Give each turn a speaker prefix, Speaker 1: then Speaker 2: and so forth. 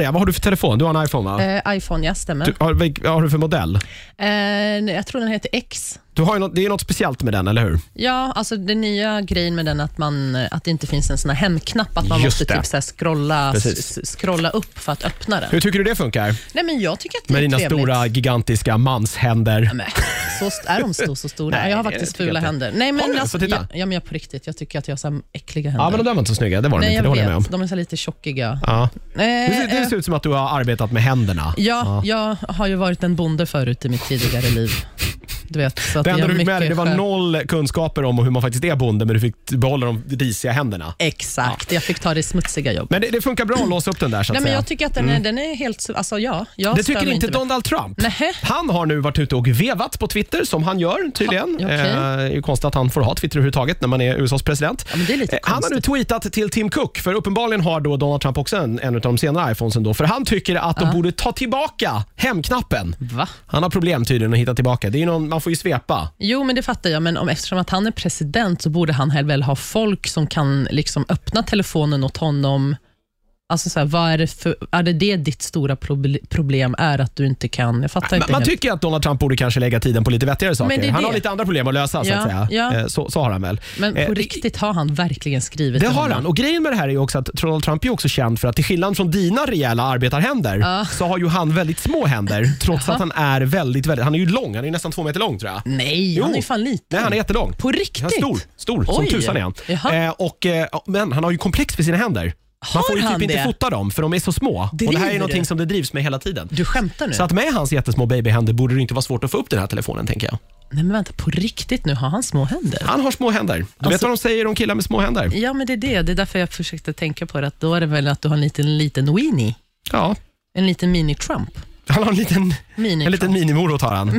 Speaker 1: Maria, vad har du för telefon? Du har en iPhone va?
Speaker 2: Eh, iPhone, ja, stämmer.
Speaker 1: Du, har, vilk- vad har du för modell?
Speaker 2: Eh, nej, jag tror den heter X.
Speaker 1: Du har ju något, det är något speciellt med den, eller hur?
Speaker 2: Ja, alltså den nya grejen med den att, man, eh, att det inte finns en sån här hemknapp, att man
Speaker 1: Just
Speaker 2: måste
Speaker 1: det.
Speaker 2: typ så här scrolla, s-
Speaker 1: Precis.
Speaker 2: s- scrolla upp för att öppna den.
Speaker 1: Hur tycker du det funkar?
Speaker 2: Nej, men jag tycker att det
Speaker 1: Med
Speaker 2: är
Speaker 1: dina
Speaker 2: trevligt.
Speaker 1: stora, gigantiga manshänder.
Speaker 2: Nej, så st- är de stor, så stora?
Speaker 1: Nej,
Speaker 2: jag har
Speaker 1: det
Speaker 2: faktiskt
Speaker 1: tycker jag
Speaker 2: fula
Speaker 1: inte.
Speaker 2: händer. Nej, men
Speaker 1: du?
Speaker 2: alltså,
Speaker 1: Får titta.
Speaker 2: Ja, ja, men jag på riktigt. Jag tycker att jag har så här äckliga händer.
Speaker 1: Ja, men de där var inte så snygga. Det var de
Speaker 2: Nej,
Speaker 1: inte. Det håller jag med
Speaker 2: jag
Speaker 1: om.
Speaker 2: vet. De är så här lite tjockiga.
Speaker 1: Ja.
Speaker 2: Eh,
Speaker 1: Det, ser-
Speaker 2: eh,
Speaker 1: det ser ut som att du har arbetat med händerna.
Speaker 2: Ja, jag har ju varit en bonde förut i mitt tidigare liv. Du vet, så att
Speaker 1: Det
Speaker 2: jag
Speaker 1: enda
Speaker 2: har
Speaker 1: du fick med dig
Speaker 2: mycket
Speaker 1: det var
Speaker 2: skär-
Speaker 1: noll kunskaper om hur man faktiskt är bonde, men du fick behålla de risiga händerna.
Speaker 2: Exakt, jag fick ta det smutsiga jobb.
Speaker 1: Men det, det funkar bra att låsa upp den där så att
Speaker 2: Nej, men
Speaker 1: säga.
Speaker 2: jag tycker att den, är, den är helt... su- Alltså, ja, jag
Speaker 1: Mm. det
Speaker 2: stör
Speaker 1: tycker
Speaker 2: mig
Speaker 1: inte
Speaker 2: med-
Speaker 1: Donald Trump.
Speaker 2: Nähä.
Speaker 1: Han har nu varit ute och vevat på Twitter, som han gör tydligen.
Speaker 2: Ja, okej.
Speaker 1: Eh, det är ju konstigt att han får ha Twitter överhuvudtaget när man är USAs president.
Speaker 2: Ja, men det är lite
Speaker 1: Eh, han har nu
Speaker 2: konstigt.
Speaker 1: tweetat till Tim Cook, för uppenbarligen har då Donald Trump också en, en av de senare iPhonesen. Då, för han tycker att de borde ta tillbaka hemknappen.
Speaker 2: Va?
Speaker 1: Han har problem tydligen att hitta tillbaka. Det är ju någon, man får ju svepa.
Speaker 2: Jo, men det fattar jag, men om, eftersom att han är president så borde han här väl ha folk som kan liksom öppna telefonen åt honom. Alltså, så här, vad är, det för, är det det ditt stora proble- problem är, att du inte kan... Jag fattar
Speaker 1: Man,
Speaker 2: inte
Speaker 1: man
Speaker 2: helt.
Speaker 1: tycker att Donald Trump borde kanske lägga tiden på lite vettigare saker.
Speaker 2: Men det är
Speaker 1: han
Speaker 2: det.
Speaker 1: har lite andra problem att lösa så
Speaker 2: Ja,
Speaker 1: att säga.
Speaker 2: ja.
Speaker 1: Eh, Så, så har han väl.
Speaker 2: Men på
Speaker 1: Eh,
Speaker 2: riktigt, har han verkligen skrivit
Speaker 1: Det
Speaker 2: till
Speaker 1: har
Speaker 2: honom?
Speaker 1: han. Och grejen med det här är ju också att Donald Trump är ju också känd för att till skillnad från dina rejäla arbetarhänder så har ju han väldigt små händer trots att han är väldigt, väldigt, han är ju lång. Han är ju nästan två meter lång tror jag.
Speaker 2: Nej, han är ju fan liten.
Speaker 1: Nej, han är jättelång.
Speaker 2: På riktigt?
Speaker 1: Han är stor, stor som
Speaker 2: Oj.
Speaker 1: tusan är han.
Speaker 2: Jaha.
Speaker 1: Eh, och, eh, men han har ju komplex för sina händer. Man
Speaker 2: Har
Speaker 1: får ju typ
Speaker 2: han
Speaker 1: inte
Speaker 2: det?
Speaker 1: fota dem för de är så små. Och det här
Speaker 2: Driver
Speaker 1: är
Speaker 2: du?
Speaker 1: någonting som det drivs med hela tiden.
Speaker 2: Du skämtar nu?
Speaker 1: Så att med hans jättesmå babyhänder borde det inte vara svårt att få upp den här telefonen tänker jag.
Speaker 2: Nej men vänta, på riktigt nu, har han små händer?
Speaker 1: Han har små händer. Du vet
Speaker 2: Alltså-
Speaker 1: vad de säger om killar med små händer?
Speaker 2: Ja men det är det, det är därför jag försökte tänka på det, att då är det väl att du har en liten, liten weenie,
Speaker 1: Ja,
Speaker 2: en liten mini-Trump.
Speaker 1: han har en liten,
Speaker 2: Mini
Speaker 1: en liten minimorot har han.